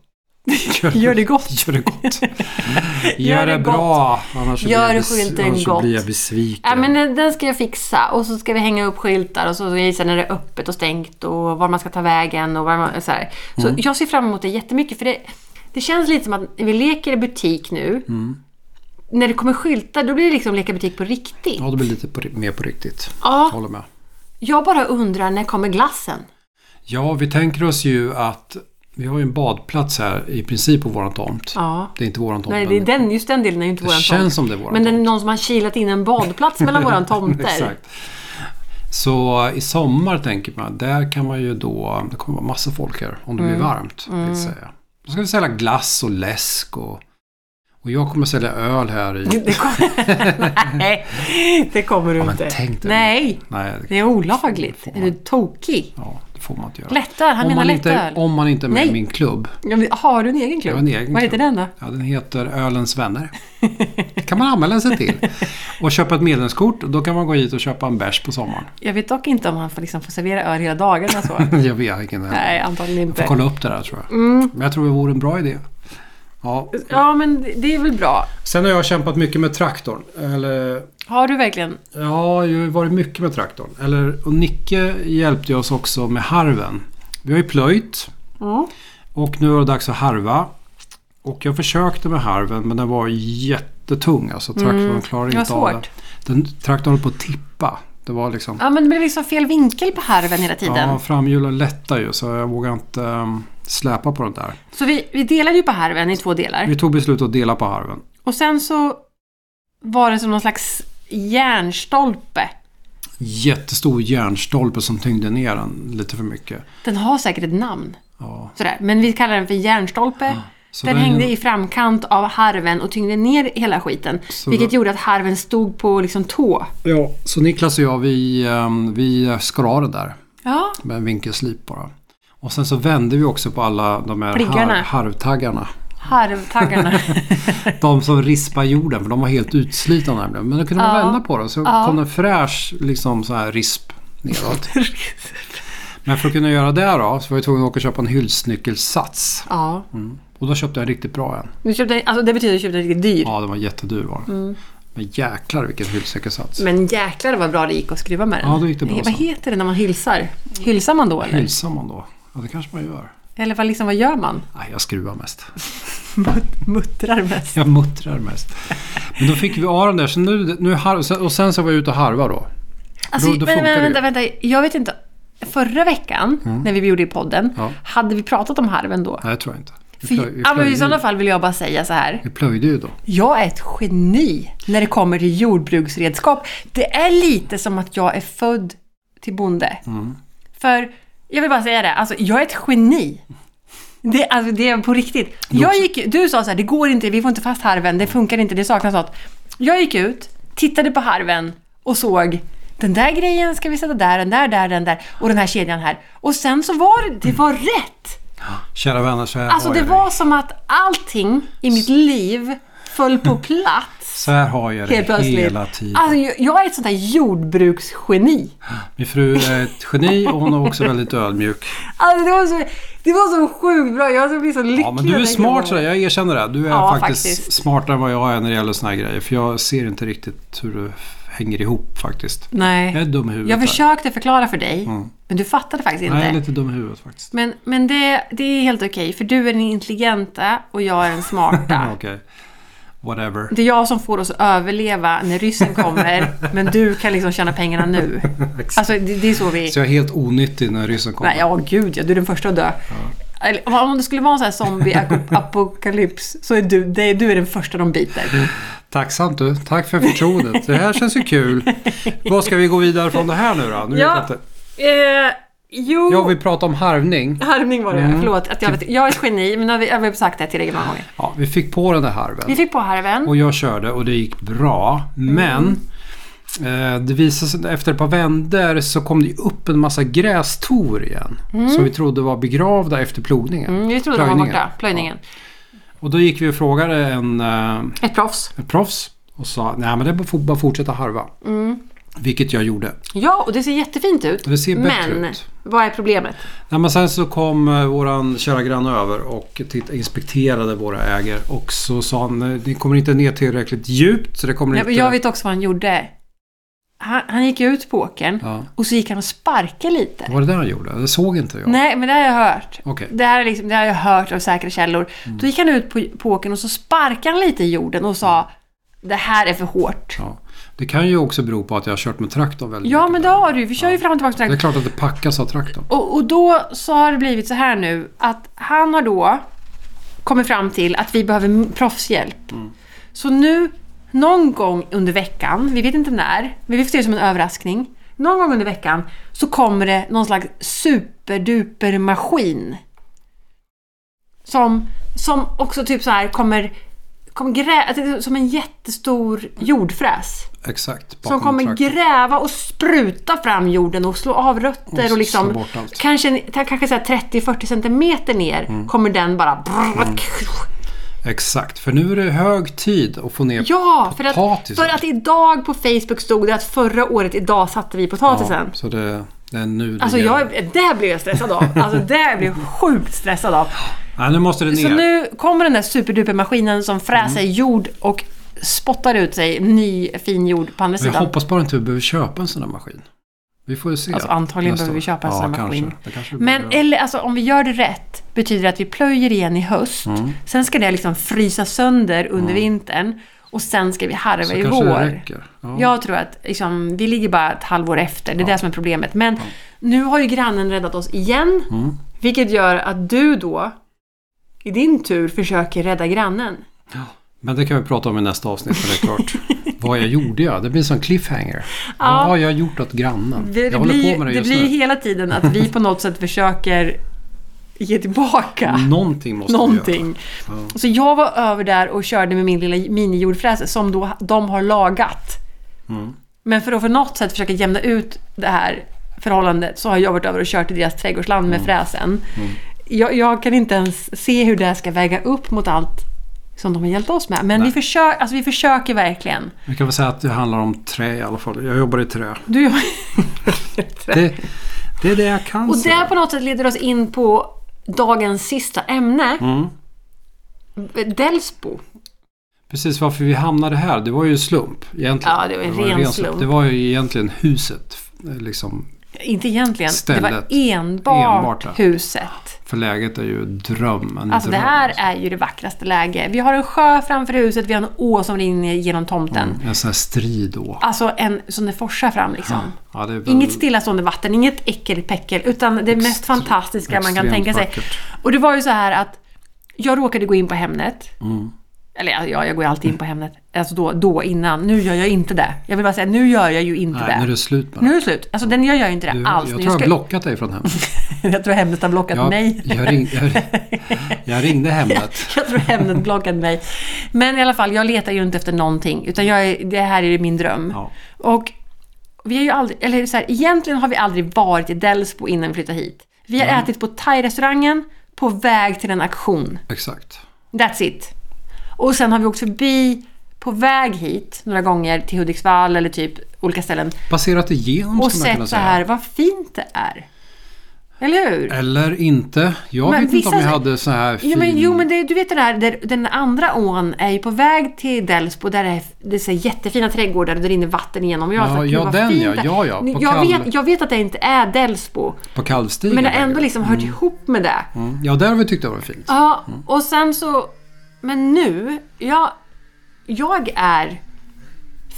Speaker 2: Gör det gott.
Speaker 1: Gör det gott.
Speaker 2: Gör
Speaker 1: Gör
Speaker 2: det
Speaker 1: det bra. Annars,
Speaker 2: Gör
Speaker 1: blir, jag
Speaker 2: det skylten
Speaker 1: bes- annars
Speaker 2: gott.
Speaker 1: blir jag besviken.
Speaker 2: Ja, men den- den ska jag fixa och så ska vi hänga upp skyltar och så ska jag visa när det är öppet och stängt och var man ska ta vägen och var man, så här. Så
Speaker 1: Mm.
Speaker 2: jag ser fram emot det jättemycket för det, det känns lite som att vi leker i butik nu.
Speaker 1: Mm.
Speaker 2: När det kommer skyltar då blir det liksom leka butik på riktigt.
Speaker 1: Ja, det blir lite på, ri- mer på riktigt. Jag
Speaker 2: Ja,
Speaker 1: håller med.
Speaker 2: jag bara undrar när kommer glassen?
Speaker 1: Ja, vi tänker oss ju att vi har ju en badplats här i princip på våran tomt.
Speaker 2: Ja.
Speaker 1: Det är inte våran tomt.
Speaker 2: Nej, det
Speaker 1: men
Speaker 2: är den, just den delen är ju inte
Speaker 1: det
Speaker 2: våran
Speaker 1: känns
Speaker 2: tomt.
Speaker 1: som det är våran
Speaker 2: Men det är
Speaker 1: tomt.
Speaker 2: någon som har kilat in en badplats mellan våran tomter.
Speaker 1: Exakt. Så i sommar tänker man, där kan man ju då, det kommer vara massa folk här om det
Speaker 2: Mm.
Speaker 1: blir varmt. Vill säga. Då ska vi sälja glass och läsk och, och jag kommer sälja öl här i...
Speaker 2: Det kommer, nej, det kommer du
Speaker 1: Ja, men
Speaker 2: inte.
Speaker 1: tänk dig.
Speaker 2: Nej,
Speaker 1: Nej, det-
Speaker 2: det är olagligt. Är du tokig?
Speaker 1: ja, det får man inte göra.
Speaker 2: Lättöl, han
Speaker 1: om,
Speaker 2: menar
Speaker 1: man inte,
Speaker 2: lättöl.
Speaker 1: om man inte är med
Speaker 2: Nej.
Speaker 1: i min klubb.
Speaker 2: Ja, men Har du en egen klubb?
Speaker 1: Jag har en egen
Speaker 2: Vad heter
Speaker 1: klubb.
Speaker 2: den då?
Speaker 1: Ja, den heter Ölens vänner. Det kan man anmäla sig till. Och köpa ett medlemskort. och Då kan man gå hit och köpa en bärs på sommaren.
Speaker 2: Jag vet dock inte om han får, liksom, får servera öl hela dagarna så.
Speaker 1: Jag vet vilken det är.
Speaker 2: Nej, antagligen
Speaker 1: Jag får
Speaker 2: inte.
Speaker 1: kolla upp det där tror jag.
Speaker 2: Mm.
Speaker 1: Men jag tror det vore en bra idé. Ja.
Speaker 2: Ja, men det- det är väl bra.
Speaker 1: Sen har jag kämpat mycket med traktorn. Eller,
Speaker 2: Har du verkligen?
Speaker 1: ja, jag har ju varit mycket med traktorn. Eller, och Nicke hjälpte oss också med harven. Vi har ju plöjt
Speaker 2: Mm.
Speaker 1: och nu är det dags att harva. Och jag försökte med harven men den var jättetung. Alltså traktorn klarade
Speaker 2: Mm. det var
Speaker 1: inte av
Speaker 2: svårt.
Speaker 1: det. Den, traktorn höll på att tippa. Det var liksom...
Speaker 2: Ja, men det blir liksom fel vinkel på harven hela tiden.
Speaker 1: Ja, framhjulen lättar ju så jag vågar inte ehm, släpa på den där.
Speaker 2: Så vi, vi delade ju på harven i två delar.
Speaker 1: Vi tog beslut att dela på harven.
Speaker 2: Och sen så var det som någon slags järnstolpe.
Speaker 1: Jättestor järnstolpe som tyngde ner den lite för mycket.
Speaker 2: Den har säkert ett namn.
Speaker 1: Ja.
Speaker 2: Sådär. Men vi kallar den för järnstolpe.
Speaker 1: Ah, Så
Speaker 2: Den
Speaker 1: den-
Speaker 2: hängde i framkant av harven och tyngde ner hela skiten.
Speaker 1: Så
Speaker 2: vilket
Speaker 1: då-
Speaker 2: gjorde att harven stod på liksom tå.
Speaker 1: Ja, så Niklas och jag vi, ehm, vi skar av det där
Speaker 2: Ja.
Speaker 1: med en vinkelslip bara. Och sen så vände vi också på alla de här
Speaker 2: Pliggarna.
Speaker 1: har, harvtaggarna.
Speaker 2: Harvtaggarna.
Speaker 1: De som rispar jorden för de var helt utslitna nämligen. Men då kunde man
Speaker 2: Ja.
Speaker 1: vända på dem så
Speaker 2: Ja.
Speaker 1: kom det en fräsch liksom, så här risp neråt. Men för att kunna göra det då så var jag tvungen att åka och köpa en hylsnyckelsats.
Speaker 2: ja.
Speaker 1: Och då köpte jag en riktigt bra en.
Speaker 2: Du köpte, alltså det betyder att du köpte en riktigt dyr.
Speaker 1: Ja, den var jättedyr var den.
Speaker 2: Mm.
Speaker 1: Men jäklar vilken hylsnyckelsats.
Speaker 2: Men jäklar vad bra det gick att skruva med den.
Speaker 1: Ja, då gick det bra
Speaker 2: Vad
Speaker 1: sen.
Speaker 2: heter det när man hylsar? Hylsar man då eller?
Speaker 1: Hylsar man då? Ja, det kanske man gör.
Speaker 2: Eller vad, liksom, vad gör man?
Speaker 1: Nej, jag skruvar mest.
Speaker 2: Muttrar mest.
Speaker 1: Jag muttrar mest. Men då fick vi av den där. Så nu, nu har, och sen så var jag ute och harva då.
Speaker 2: Alltså,
Speaker 1: Då- då
Speaker 2: vänta,
Speaker 1: funkar det ju.
Speaker 2: vänta, vänta, jag vet inte. Förra veckan, när vi gjorde i podden,
Speaker 1: Ja.
Speaker 2: hade vi pratat om harven då?
Speaker 1: Nej, det tror jag inte. Vi,
Speaker 2: För,
Speaker 1: plöj, vi,
Speaker 2: ja, men I
Speaker 1: plöjde,
Speaker 2: sådana
Speaker 1: ju-
Speaker 2: fall vill jag bara säga så här.
Speaker 1: vi plöjde ju då.
Speaker 2: Jag är ett geni när det kommer till jordbruksredskap. Det är lite som att jag är född till bonde. För, jag vill bara säga det, alltså jag är ett geni. Det, alltså, det är på riktigt. Jag gick, du sa så här, det går inte, vi får inte fast harven, det funkar inte, det saknas något. Jag gick ut, tittade på harven och såg den där grejen ska vi sätta där, den där, där, den där och den här kedjan här. Och sen så var det, det var rätt!
Speaker 1: Kära vänner, så här
Speaker 2: Alltså
Speaker 1: har
Speaker 2: det
Speaker 1: jag
Speaker 2: var som att allting i mitt liv föll på plats.
Speaker 1: Så här har jag
Speaker 2: Helt
Speaker 1: det
Speaker 2: plötsligt.
Speaker 1: hela tiden.
Speaker 2: Alltså, jag, jag är ett sånt här jordbruksgeni.
Speaker 1: Min fru är ett geni och hon är också väldigt ödmjuk.
Speaker 2: Alltså, det var så, Det var så sjukt bra. Jag blev så lycklig.
Speaker 1: Ja, men du är
Speaker 2: när jag
Speaker 1: smart
Speaker 2: tänkte på
Speaker 1: sådär.
Speaker 2: det.
Speaker 1: Jag erkänner det. Du är
Speaker 2: Ja,
Speaker 1: faktiskt,
Speaker 2: faktiskt.
Speaker 1: smartare än vad jag är när det gäller såna här grejer. För jag ser inte riktigt hur det hänger ihop faktiskt. Jag är
Speaker 2: Nej.
Speaker 1: dum i huvudet.
Speaker 2: Jag
Speaker 1: där.
Speaker 2: försökte förklara för dig,
Speaker 1: Mm.
Speaker 2: men du fattade faktiskt inte.
Speaker 1: Nej, jag är lite dum i huvudet faktiskt.
Speaker 2: Men, men det, det är helt okej, för du är den intelligenta och jag är den smarta.
Speaker 1: Ja, Okej. Whatever.
Speaker 2: Det är jag som får oss att överleva när ryssen kommer, men du kan liksom tjäna pengarna nu. Alltså, det, det är så vi...
Speaker 1: Så jag är helt onyttig när ryssen kommer.
Speaker 2: Nej, ja gud ja, du är den första att dö. Eller, om- Om det skulle vara en sån här zombie-apokalyps så är du, det, är- du är den första de
Speaker 1: Mm.
Speaker 2: biter.
Speaker 1: Tacksamt du. Tack för förtroendet. Det här känns ju kul. Vad ska vi gå vidare från det här nu då? Nu
Speaker 2: Ja.
Speaker 1: vet jag inte.
Speaker 2: Eh, jo,
Speaker 1: Jag vill Mm. Typ. prata om harvning.
Speaker 2: harmning var det. Förlåt, att jag, vet, jag är ett geni, men jag har- jag har sagt det tillräckligt många gånger.
Speaker 1: Ja, vi fick på den där harven.
Speaker 2: Vi fick på harven.
Speaker 1: Och jag körde och det gick bra. Men eh, det visade sig efter ett par vänder så kom det upp en massa grästor igen. Som vi trodde var begravda efter plogningen.
Speaker 2: Mm, vi trodde de var
Speaker 1: Plöjningen.
Speaker 2: borta, plöjningen.
Speaker 1: Och då gick vi och frågade en, eh,
Speaker 2: Ett proffs.
Speaker 1: en proffs och sa nej men det är bara- får bara fortsätta harva.
Speaker 2: Mm.
Speaker 1: Vilket jag gjorde.
Speaker 2: Ja, och det ser jättefint ut.
Speaker 1: Det ser bättre
Speaker 2: men
Speaker 1: ut.
Speaker 2: vad är problemet?
Speaker 1: Nej, men sen så kom eh, våran kära granne över och titt, inspekterade våra ägor. Och så sa han eh, ni kommer inte ner tillräckligt djupt så det kommer
Speaker 2: Jag,
Speaker 1: inte...
Speaker 2: jag vet också vad han gjorde. Han, han gick ut på åkern
Speaker 1: Ja.
Speaker 2: och så gick han och sparkade lite.
Speaker 1: Var det där han gjorde? Det såg inte jag.
Speaker 2: Nej, men det har jag hört.
Speaker 1: Okej.
Speaker 2: Det, här är liksom, det har jag hört av säkra källor. Då gick han ut på, på åkern och så sparkade han lite i jorden och sa det här är för hårt.
Speaker 1: Ja. Det kan ju också bero på att jag har kört med traktorn väldigt
Speaker 2: Ja,
Speaker 1: mycket.
Speaker 2: men det har du. Vi kör ju fram och tillbaka. till
Speaker 1: Det är
Speaker 2: traktorn.
Speaker 1: klart att det packas av traktorn.
Speaker 2: Och, och då så har det blivit så här nu att han har då kommit fram till att vi behöver m- proffshjälp. Så nu, någon gång under veckan, vi vet inte när, men vi får se det som en överraskning. Någon gång under veckan så kommer det någon slags superdupermaskin. Som, som också typ så här kommer, kommer grä, alltså det är som en jättestor jordfräs.
Speaker 1: Exakt.
Speaker 2: Som
Speaker 1: bakom
Speaker 2: kommer
Speaker 1: traktorn.
Speaker 2: gräva och spruta fram jorden och slå av rötter
Speaker 1: Och
Speaker 2: och,
Speaker 1: slå
Speaker 2: liksom
Speaker 1: bort allt. Mm.
Speaker 2: kanske, en- ta- kanske så här 30-40 centimeter ner kommer den bara brrr,
Speaker 1: Exakt. För nu är det hög tid att få ner
Speaker 2: Ja, för att,
Speaker 1: Potatisen.
Speaker 2: för att idag på Facebook stod det att förra året idag satte vi potatisen.
Speaker 1: Så det, det är nu det
Speaker 2: Alltså
Speaker 1: gäller.
Speaker 2: jag, det blev jag stressad av. Alltså det blev jag sjukt stressad av.
Speaker 1: Nej, nu måste det ner. Mm.
Speaker 2: Så nu kommer den där superdupermaskinen som fräser jord och spottar ut sig ny fin jord på andra
Speaker 1: Men jag
Speaker 2: sidan.
Speaker 1: hoppas bara inte vi behöver köpa en sån där maskin. Vi får ju se.
Speaker 2: Alltså, antagligen
Speaker 1: nästa
Speaker 2: behöver vi
Speaker 1: år.
Speaker 2: köpa en sån
Speaker 1: ja,
Speaker 2: där
Speaker 1: kanske.
Speaker 2: maskin.
Speaker 1: Det kanske vi
Speaker 2: Men
Speaker 1: behöver.
Speaker 2: eller, alltså, om vi gör det rätt betyder det att vi plöjer igen i höst.
Speaker 1: Mm.
Speaker 2: Sen ska det liksom frysa sönder under vintern. Och sen ska vi harva
Speaker 1: Så
Speaker 2: i
Speaker 1: kanske
Speaker 2: vår.
Speaker 1: det räcker. Ja.
Speaker 2: Jag tror att liksom, vi ligger bara ett halvår efter. Det är det som är problemet. Men nu har ju grannen räddat oss igen.
Speaker 1: Mm.
Speaker 2: Vilket gör att du då i din tur försöker rädda grannen.
Speaker 1: Men det kan vi prata om i nästa avsnitt. För det är klart. Vad jag gjorde jag? Det blir en sån cliffhanger. Vad har jag gjort åt grannen?
Speaker 2: Det,
Speaker 1: jag
Speaker 2: det,
Speaker 1: håller
Speaker 2: blir,
Speaker 1: på med det
Speaker 2: det
Speaker 1: just
Speaker 2: blir
Speaker 1: nu.
Speaker 2: hela tiden att vi på något sätt försöker ge tillbaka.
Speaker 1: Mm. Någonting måste vi göra.
Speaker 2: Ah, Någonting. Så jag var över där och körde med min lilla minijordfräs som då de har lagat. Men för att på något sätt försöka jämna ut det här förhållandet så har jag varit över och kört i deras trädgårdsland med fräsen. Jag, jag kan inte ens se hur det här ska väga upp mot allt som de har hjälpt oss med. Men vi, försöker, alltså vi försöker verkligen.
Speaker 1: Vi kan väl säga att det handlar om trä i alla fall. Jag jobbar i trä.
Speaker 2: Du,
Speaker 1: Det, det är det jag kan
Speaker 2: och
Speaker 1: säga.
Speaker 2: det på något sätt leder oss in på dagens sista ämne. Delsbo.
Speaker 1: Precis varför vi hamnade här, det var ju slump egentligen.
Speaker 2: Ja, det var en
Speaker 1: ju
Speaker 2: ren slump.
Speaker 1: Det var ju egentligen huset, eh, liksom.
Speaker 2: Inte egentligen. Det var
Speaker 1: Stället.
Speaker 2: enbart,
Speaker 1: Enbart, ja.
Speaker 2: huset.
Speaker 1: För läget är ju drömmen.
Speaker 2: Alltså det här är ju det vackraste läget. Vi har en sjö framför huset, vi har en å som rinner genom tomten.
Speaker 1: En sån här strid då.
Speaker 2: Alltså en som det forsar fram liksom.
Speaker 1: Ja, det är väl...
Speaker 2: Inget stillastående vatten, inget äckelpäckel, utan det mest fantastiska man kan
Speaker 1: extremt
Speaker 2: tänka sig. Typ
Speaker 1: vackert.
Speaker 2: Och det var ju så här att jag råkade gå in på Hemnet.
Speaker 1: Mm.
Speaker 2: Eller ja, jag går ju alltid in på Hemnet. Alltså då, då innan. Nu gör jag inte det. Jag vill bara säga, nu gör jag ju inte
Speaker 1: Nej,
Speaker 2: det.
Speaker 1: nu är det slut med
Speaker 2: Nu
Speaker 1: det.
Speaker 2: är det slut. Alltså den gör jag ju inte det
Speaker 1: Du,
Speaker 2: alls.
Speaker 1: jag
Speaker 2: Nu
Speaker 1: tror jag har
Speaker 2: ska-
Speaker 1: blockat dig från hemmet.
Speaker 2: jag tror Hemnet har blockat
Speaker 1: Jag,
Speaker 2: mig.
Speaker 1: jag, ring, jag, jag ringde hemmet.
Speaker 2: Jag tror Hemnet blockade mig. Men i alla fall, jag letar ju inte efter någonting. Utan jag är, det här är min dröm.
Speaker 1: Ja.
Speaker 2: Och vi har ju aldrig, eller så här, egentligen har vi aldrig varit i Delsbo innan vi flyttade hit. Vi har ätit på thai-restaurangen på väg till en auktion.
Speaker 1: Exakt.
Speaker 2: That's it. Och sen har vi åkt förbi på väg hit några gånger till Hudiksvall eller typ olika ställen.
Speaker 1: Passerat igenom
Speaker 2: Och
Speaker 1: skulle man kunna
Speaker 2: sett så
Speaker 1: säga.
Speaker 2: här, vad fint det är. Eller
Speaker 1: Eh,
Speaker 2: hur?
Speaker 1: Eller inte. Jag
Speaker 2: Men
Speaker 1: vet inte om
Speaker 2: vissa-
Speaker 1: jag hade så här fin...
Speaker 2: Jo men, jo, men det, du vet det där, där, den andra ån är ju på väg till Delsbo där det är, det är så här jättefina trädgårdar och det rinner vatten igenom. Jag
Speaker 1: Ja,
Speaker 2: har sagt, "Gud,
Speaker 1: ja,
Speaker 2: vad
Speaker 1: den,
Speaker 2: fint
Speaker 1: ja.
Speaker 2: det är."
Speaker 1: Ja, ja, på
Speaker 2: Jag,
Speaker 1: Kall-
Speaker 2: vet, jag vet att det inte är Delsbo,
Speaker 1: På kalvstigen.
Speaker 2: men det har
Speaker 1: där
Speaker 2: ändå
Speaker 1: ju.
Speaker 2: liksom hört ihop med det.
Speaker 1: Mm. Ja, där har vi tyckt det var fint.
Speaker 2: Ja, och sen så... Men nu, jag, jag är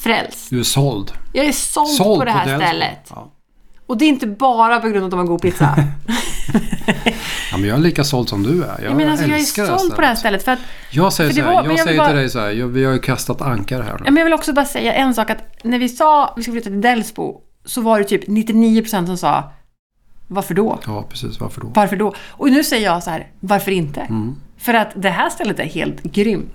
Speaker 2: frälst.
Speaker 1: Du är såld.
Speaker 2: Jag är såld,
Speaker 1: Såld
Speaker 2: på det här
Speaker 1: Delsbo.
Speaker 2: stället.
Speaker 1: Ja.
Speaker 2: Och det är inte bara på grund av att de har god pizza.
Speaker 1: ja, men jag är lika såld som du är. Jag,
Speaker 2: Jag, menar, alltså, jag är
Speaker 1: älskar
Speaker 2: såld på det här stället för att
Speaker 1: Jag säger,
Speaker 2: För det
Speaker 1: så här,
Speaker 2: var- men
Speaker 1: jag
Speaker 2: jag vill
Speaker 1: säger
Speaker 2: bara-
Speaker 1: till dig så här, jag, vi har ju kastat ankar här nu.
Speaker 2: Ja, men jag vill också bara säga en sak att när vi sa att vi skulle flytta till Delsbo så var det typ 99% som sa varför då?
Speaker 1: Ja, precis. Varför då?
Speaker 2: Varför då? Och nu säger jag så här, varför inte?
Speaker 1: Mm.
Speaker 2: För att det här stället är helt grymt.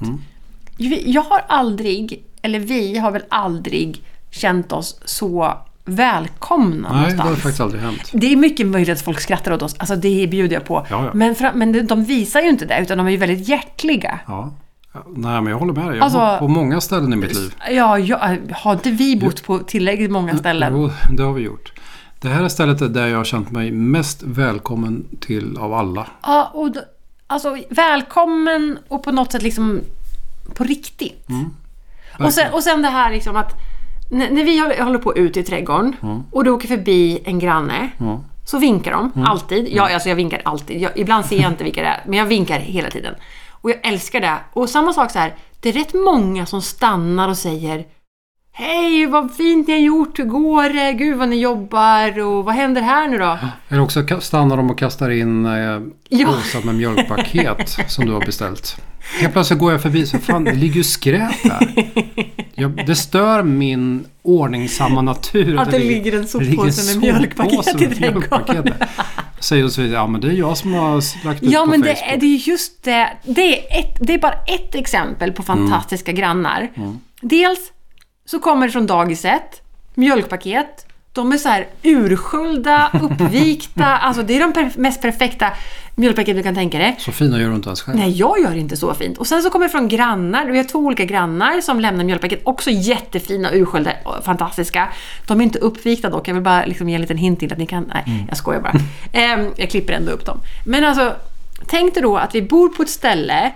Speaker 2: Vi- Jag har aldrig, eller vi har väl aldrig känt oss så välkomna
Speaker 1: Nej, det har
Speaker 2: någonstans.
Speaker 1: faktiskt aldrig hänt.
Speaker 2: Det är mycket möjligt att folk skrattar åt oss, alltså det bjuder jag på.
Speaker 1: Ja, ja.
Speaker 2: Men, fra- men de visar ju inte det, utan de är ju väldigt hjärtliga.
Speaker 1: Ja. Ja, Nej, men jag håller med dig. Jag
Speaker 2: Alltså-
Speaker 1: har varit på många ställen i mitt liv.
Speaker 2: Ja, ja, har inte vi bott på tillräckligt många ställen?
Speaker 1: Jo, det har vi gjort. Det här är stället där jag har känt mig mest välkommen till av alla.
Speaker 2: Ja, och då, alltså välkommen och på något sätt liksom på riktigt. och, sen, och sen det här liksom att när, när vi håller, håller på ut i trädgården och du åker förbi en granne så vinkar de alltid. Ja, alltså jag vinkar alltid. Jag, ibland ser jag inte vilka det är, men jag vinkar hela tiden. Och jag älskar det. Och samma sak så här, det är rätt många som stannar och säger Hej, vad fint ni har gjort, hur går det? Gud vad ni jobbar och vad händer här nu då?
Speaker 1: Eller också ka- stannar de och kastar in eh,
Speaker 2: Ja.
Speaker 1: påsar med mjölkpaket som du har beställt. Helt plötsligt går jag förbi så fan det ligger ju skräp här. Jag, det stör min ordningsamma natur.
Speaker 2: Att det ligger en soppåse med mjölkpaket
Speaker 1: soppåse med
Speaker 2: i trädgården.
Speaker 1: mjölkpaket där. Säger de så vidare, ja men det är jag som har lagt ut
Speaker 2: Ja,
Speaker 1: på
Speaker 2: men
Speaker 1: Facebook.
Speaker 2: det är, det är just det. Det är, ett, det är bara ett exempel
Speaker 1: Mm.
Speaker 2: på fantastiska grannar. Dels så kommer det från dagiset, mjölkpaket. De är så här ursköljda, uppvikta. alltså det är de perf- mest perfekta mjölkpaket du kan tänka dig.
Speaker 1: Så fina gör du inte ens själv.
Speaker 2: Nej, jag gör inte så fint. Och sen så kommer det från grannar. Vi har två olika grannar som lämnar mjölkpaket. Också jättefina, ursköljda, och fantastiska. De är inte uppvikta dock. Jag vill bara liksom ge en liten hint till att ni kan... Nej,
Speaker 1: Mm.
Speaker 2: jag skojar bara. Ehm, jag klipper ändå upp dem. Men alltså, tänk dig då att vi bor på ett ställe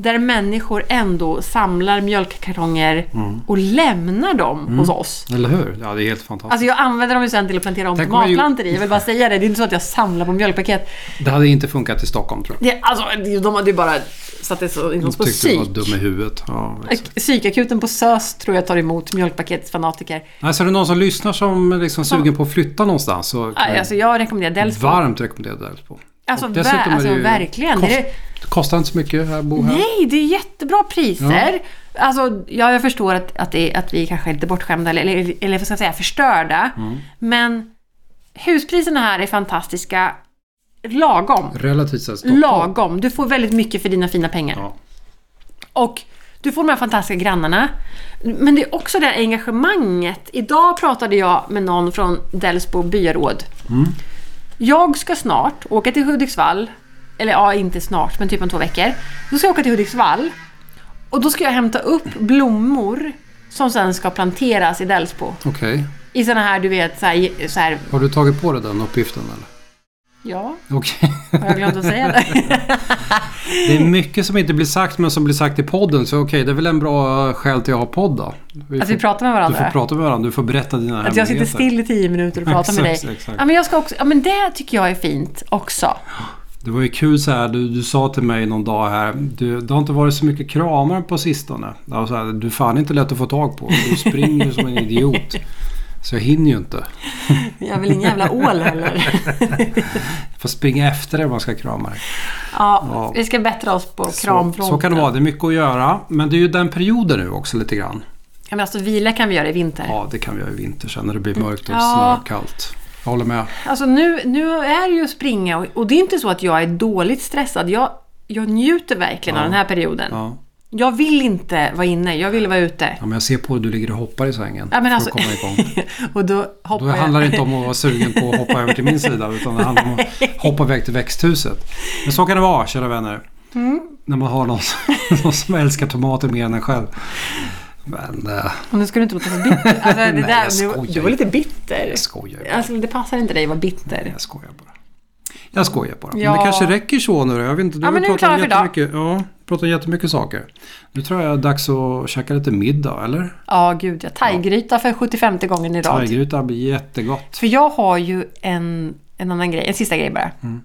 Speaker 2: där människor ändå samlar mjölkkartonger
Speaker 1: Mm.
Speaker 2: och lämnar dem hos oss.
Speaker 1: Eller hur? Ja, det är helt fantastiskt.
Speaker 2: Alltså jag använder dem ju sen till att plantera om
Speaker 1: Tänk om jag gjorde-
Speaker 2: tomatplantor i. Jag vill bara säga det. Det är inte så att jag samlar på mjölkpaket.
Speaker 1: det hade inte funkat i Stockholm tror jag.
Speaker 2: Det, alltså, de hade ju bara satt det så in oss på
Speaker 1: Tyckte du var
Speaker 2: psyk. Alltså-
Speaker 1: dum i huvudet. Ja, exakt.
Speaker 2: Ak- Psykakuten på SÖS tror jag tar emot mjölkpaketsfanatiker.
Speaker 1: Alltså är det någon som lyssnar som är liksom sugen på att flytta någonstans så kan
Speaker 2: Aj, Alltså jag rekommenderar
Speaker 1: jag
Speaker 2: Delsbo.
Speaker 1: varmt rekommendera Delsbo.
Speaker 2: Alltså,
Speaker 1: Och
Speaker 2: ver-
Speaker 1: är det
Speaker 2: alltså,
Speaker 1: ju-
Speaker 2: verkligen.
Speaker 1: Kost,
Speaker 2: Det är-
Speaker 1: det kostar inte så mycket här bo här.
Speaker 2: Nej, det är jättebra priser. Alltså, ja, jag förstår att, att, det, att vi kanske är lite bortskämda eller, eller, eller vad ska jag säga, förstörda. Men huspriserna här är fantastiska. Lagom.
Speaker 1: Relativt sett Stockholm.
Speaker 2: Lagom. Du får väldigt mycket för dina fina pengar.
Speaker 1: Ja.
Speaker 2: Och du får de här fantastiska grannarna. Men det är också det här engagemanget. Idag pratade jag med någon från Delsbo byaråd.
Speaker 1: Mm.
Speaker 2: Jag ska snart åka till Hudiksvall. Eller ja, inte snart, men typ om två veckor. Då ska jag åka till Hudiksvall. Och då ska jag hämta upp blommor som sen ska planteras i Delsbo.
Speaker 1: Okej.
Speaker 2: I såna här, du vet, så här, så här
Speaker 1: Har du tagit på dig den uppgiften eller?
Speaker 2: ja,
Speaker 1: Okej.
Speaker 2: har jag glömt att säga det?
Speaker 1: Det är mycket som inte blir sagt men som blir sagt i podden så okej det är väl en bra eh, skäl till att ha podd då. Vi
Speaker 2: Att vi pratar med
Speaker 1: du
Speaker 2: varandra.
Speaker 1: får prata med varandra, du får berätta dina
Speaker 2: Att jag sitter still i tio minuter och pratar med
Speaker 1: Exakt,
Speaker 2: dig.
Speaker 1: exakt.
Speaker 2: Ja, men jag ska också, ja, men det tycker jag är fint också.
Speaker 1: Det var ju kul så här, du, du sa till mig någon dag här, du, det har inte varit så mycket kramar på sistone. Jag var så här, du är fan inte lätt att få tag på, du springer ju som en idiot. Så jag hinner ju inte.
Speaker 2: Jag är väl ingen jävla ål heller.
Speaker 1: Jag får springa efter dig om man ska krama dig. Ja.
Speaker 2: Ja, vi ska bättra oss på
Speaker 1: Så,
Speaker 2: kramfronten.
Speaker 1: så kan det vara, det är mycket att göra. Men det är ju den perioden nu också lite grann.
Speaker 2: Ja, men alltså vila kan vi göra i vinter.
Speaker 1: Ja, det kan vi göra i vinter sen när det blir mörkt och
Speaker 2: Mm. Ja.
Speaker 1: snökallt. Jag håller med.
Speaker 2: Alltså nu, nu är det ju att springa och, och det är inte så att jag är dåligt stressad. Jag, jag njuter verkligen av den här perioden.
Speaker 1: Ja.
Speaker 2: Jag vill inte vara inne, jag vill vara ute.
Speaker 1: Ja, men jag ser på hur du ligger och hoppar i sängen
Speaker 2: Ja, men alltså,
Speaker 1: för att komma igång.
Speaker 2: och då hoppar
Speaker 1: Då handlar det inte om att vara sugen på att hoppa över till min sida utan det handlar om att hoppa iväg till växthuset. Men så kan det vara, kära vänner.
Speaker 2: Mm.
Speaker 1: När man har någon, som- någon som älskar tomater mer än en själv. Men eh,
Speaker 2: Och nu ska du inte låta så bitter. Alltså, det
Speaker 1: Nej, jag
Speaker 2: där,
Speaker 1: skojar
Speaker 2: du, du var lite bitter.
Speaker 1: jag skojar ju bara.
Speaker 2: Alltså, det passar inte dig att vara bitter.
Speaker 1: Jag skojar bara. Jag skojar bara.
Speaker 2: Ja.
Speaker 1: Men det kanske räcker så nu då. Jag vet inte. Du
Speaker 2: Ja,
Speaker 1: har
Speaker 2: men nu är vi
Speaker 1: pratat om
Speaker 2: klara för
Speaker 1: jättemycket, ja, pratat om jättemycket saker. Nu tror jag det är dags att käka lite middag, eller?
Speaker 2: Ja, gud ja. Thai-gryta för 75 gången i rad.
Speaker 1: Thai-gryta blir jättegott.
Speaker 2: För jag har ju en, en annan grej, en sista grej bara.
Speaker 1: Mm.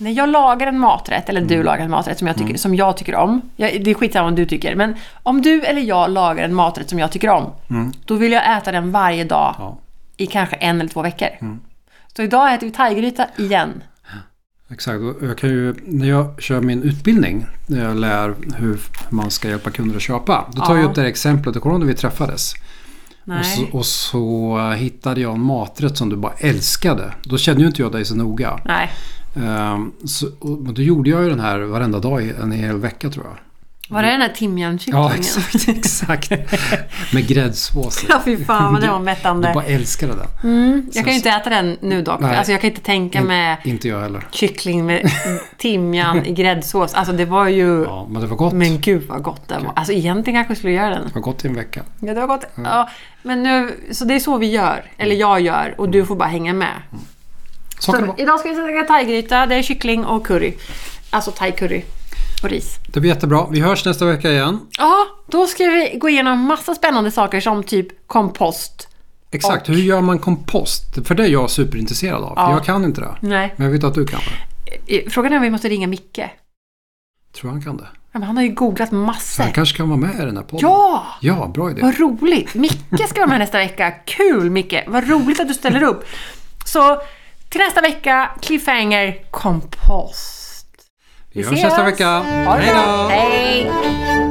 Speaker 2: När jag lagar en maträtt, eller du lagar en maträtt som jag tycker,
Speaker 1: Mm.
Speaker 2: som jag tycker om. Jag, det är skitsamma om du tycker. Men om du eller jag lagar en maträtt som jag tycker om. Då vill jag äta den varje dag
Speaker 1: Mm. Ja, Mm.
Speaker 2: i kanske en eller två veckor. Så idag äter vi thaigryta igen.
Speaker 1: exakt. Och Jag kan ju, när jag kör min utbildning, när jag lär hur man ska hjälpa kunder att köpa. Då tar
Speaker 2: Ja.
Speaker 1: jag upp det här exemplet. Det kommer du ihåg när vi träffades?
Speaker 2: Nej.
Speaker 1: Och så, och så hittade jag en maträtt som du bara älskade. Då kände ju inte jag dig så noga.
Speaker 2: Nej.
Speaker 1: Ehm, så, och, men då gjorde jag ju den här varenda dag i en hel vecka tror jag.
Speaker 2: Var det den här timjankycklingen?
Speaker 1: Ja, exakt. exakt. Med gräddsås. i.
Speaker 2: Ja, fy fan vad det var
Speaker 1: Du bara
Speaker 2: mättande.
Speaker 1: älskade den.
Speaker 2: Mm, jag kan ju inte äta den nu dock.
Speaker 1: Nej.
Speaker 2: Alltså jag kan inte tänka mig
Speaker 1: Inte jag heller.
Speaker 2: kyckling med timjan i gräddsås. Alltså det var ju...
Speaker 1: Ja, men det var gott.
Speaker 2: Men gud vad gott det var. Alltså egentligen kanske jag skulle göra den.
Speaker 1: Det var gott i en vecka.
Speaker 2: Ja, det var gott. Mm. Ja, men nu, så det är så vi gör. Eller jag gör och du får bara hänga med.
Speaker 1: Så kan det
Speaker 2: Så,
Speaker 1: vara.
Speaker 2: idag ska vi käka thaigryta. Det är kyckling och curry. Alltså thai-curry. Och ris.
Speaker 1: Det blir jättebra. Vi hörs nästa vecka igen.
Speaker 2: Ja, då ska vi gå igenom massa spännande saker som typ kompost.
Speaker 1: Exakt. Hur gör man kompost? För det är jag superintresserad av.
Speaker 2: Ja.
Speaker 1: Jag kan inte det.
Speaker 2: Nej.
Speaker 1: Men jag vet att du kan det.
Speaker 2: Eh, Frågan är om vi måste ringa Micke.
Speaker 1: Tror han kan det.
Speaker 2: Ja, men han har ju googlat
Speaker 1: Så han
Speaker 2: massor.
Speaker 1: kanske kan vara med i den här podden.
Speaker 2: Ja!
Speaker 1: Ja, bra idé.
Speaker 2: Vad roligt! Micke ska vara med nästa vecka. Kul Micke! Vad roligt att du ställer upp. Så till nästa vecka, cliffhanger, kompost.
Speaker 1: Vi hörs nästa vecka.
Speaker 2: Ha det
Speaker 1: Hej
Speaker 2: bra.
Speaker 1: då!
Speaker 2: Hej!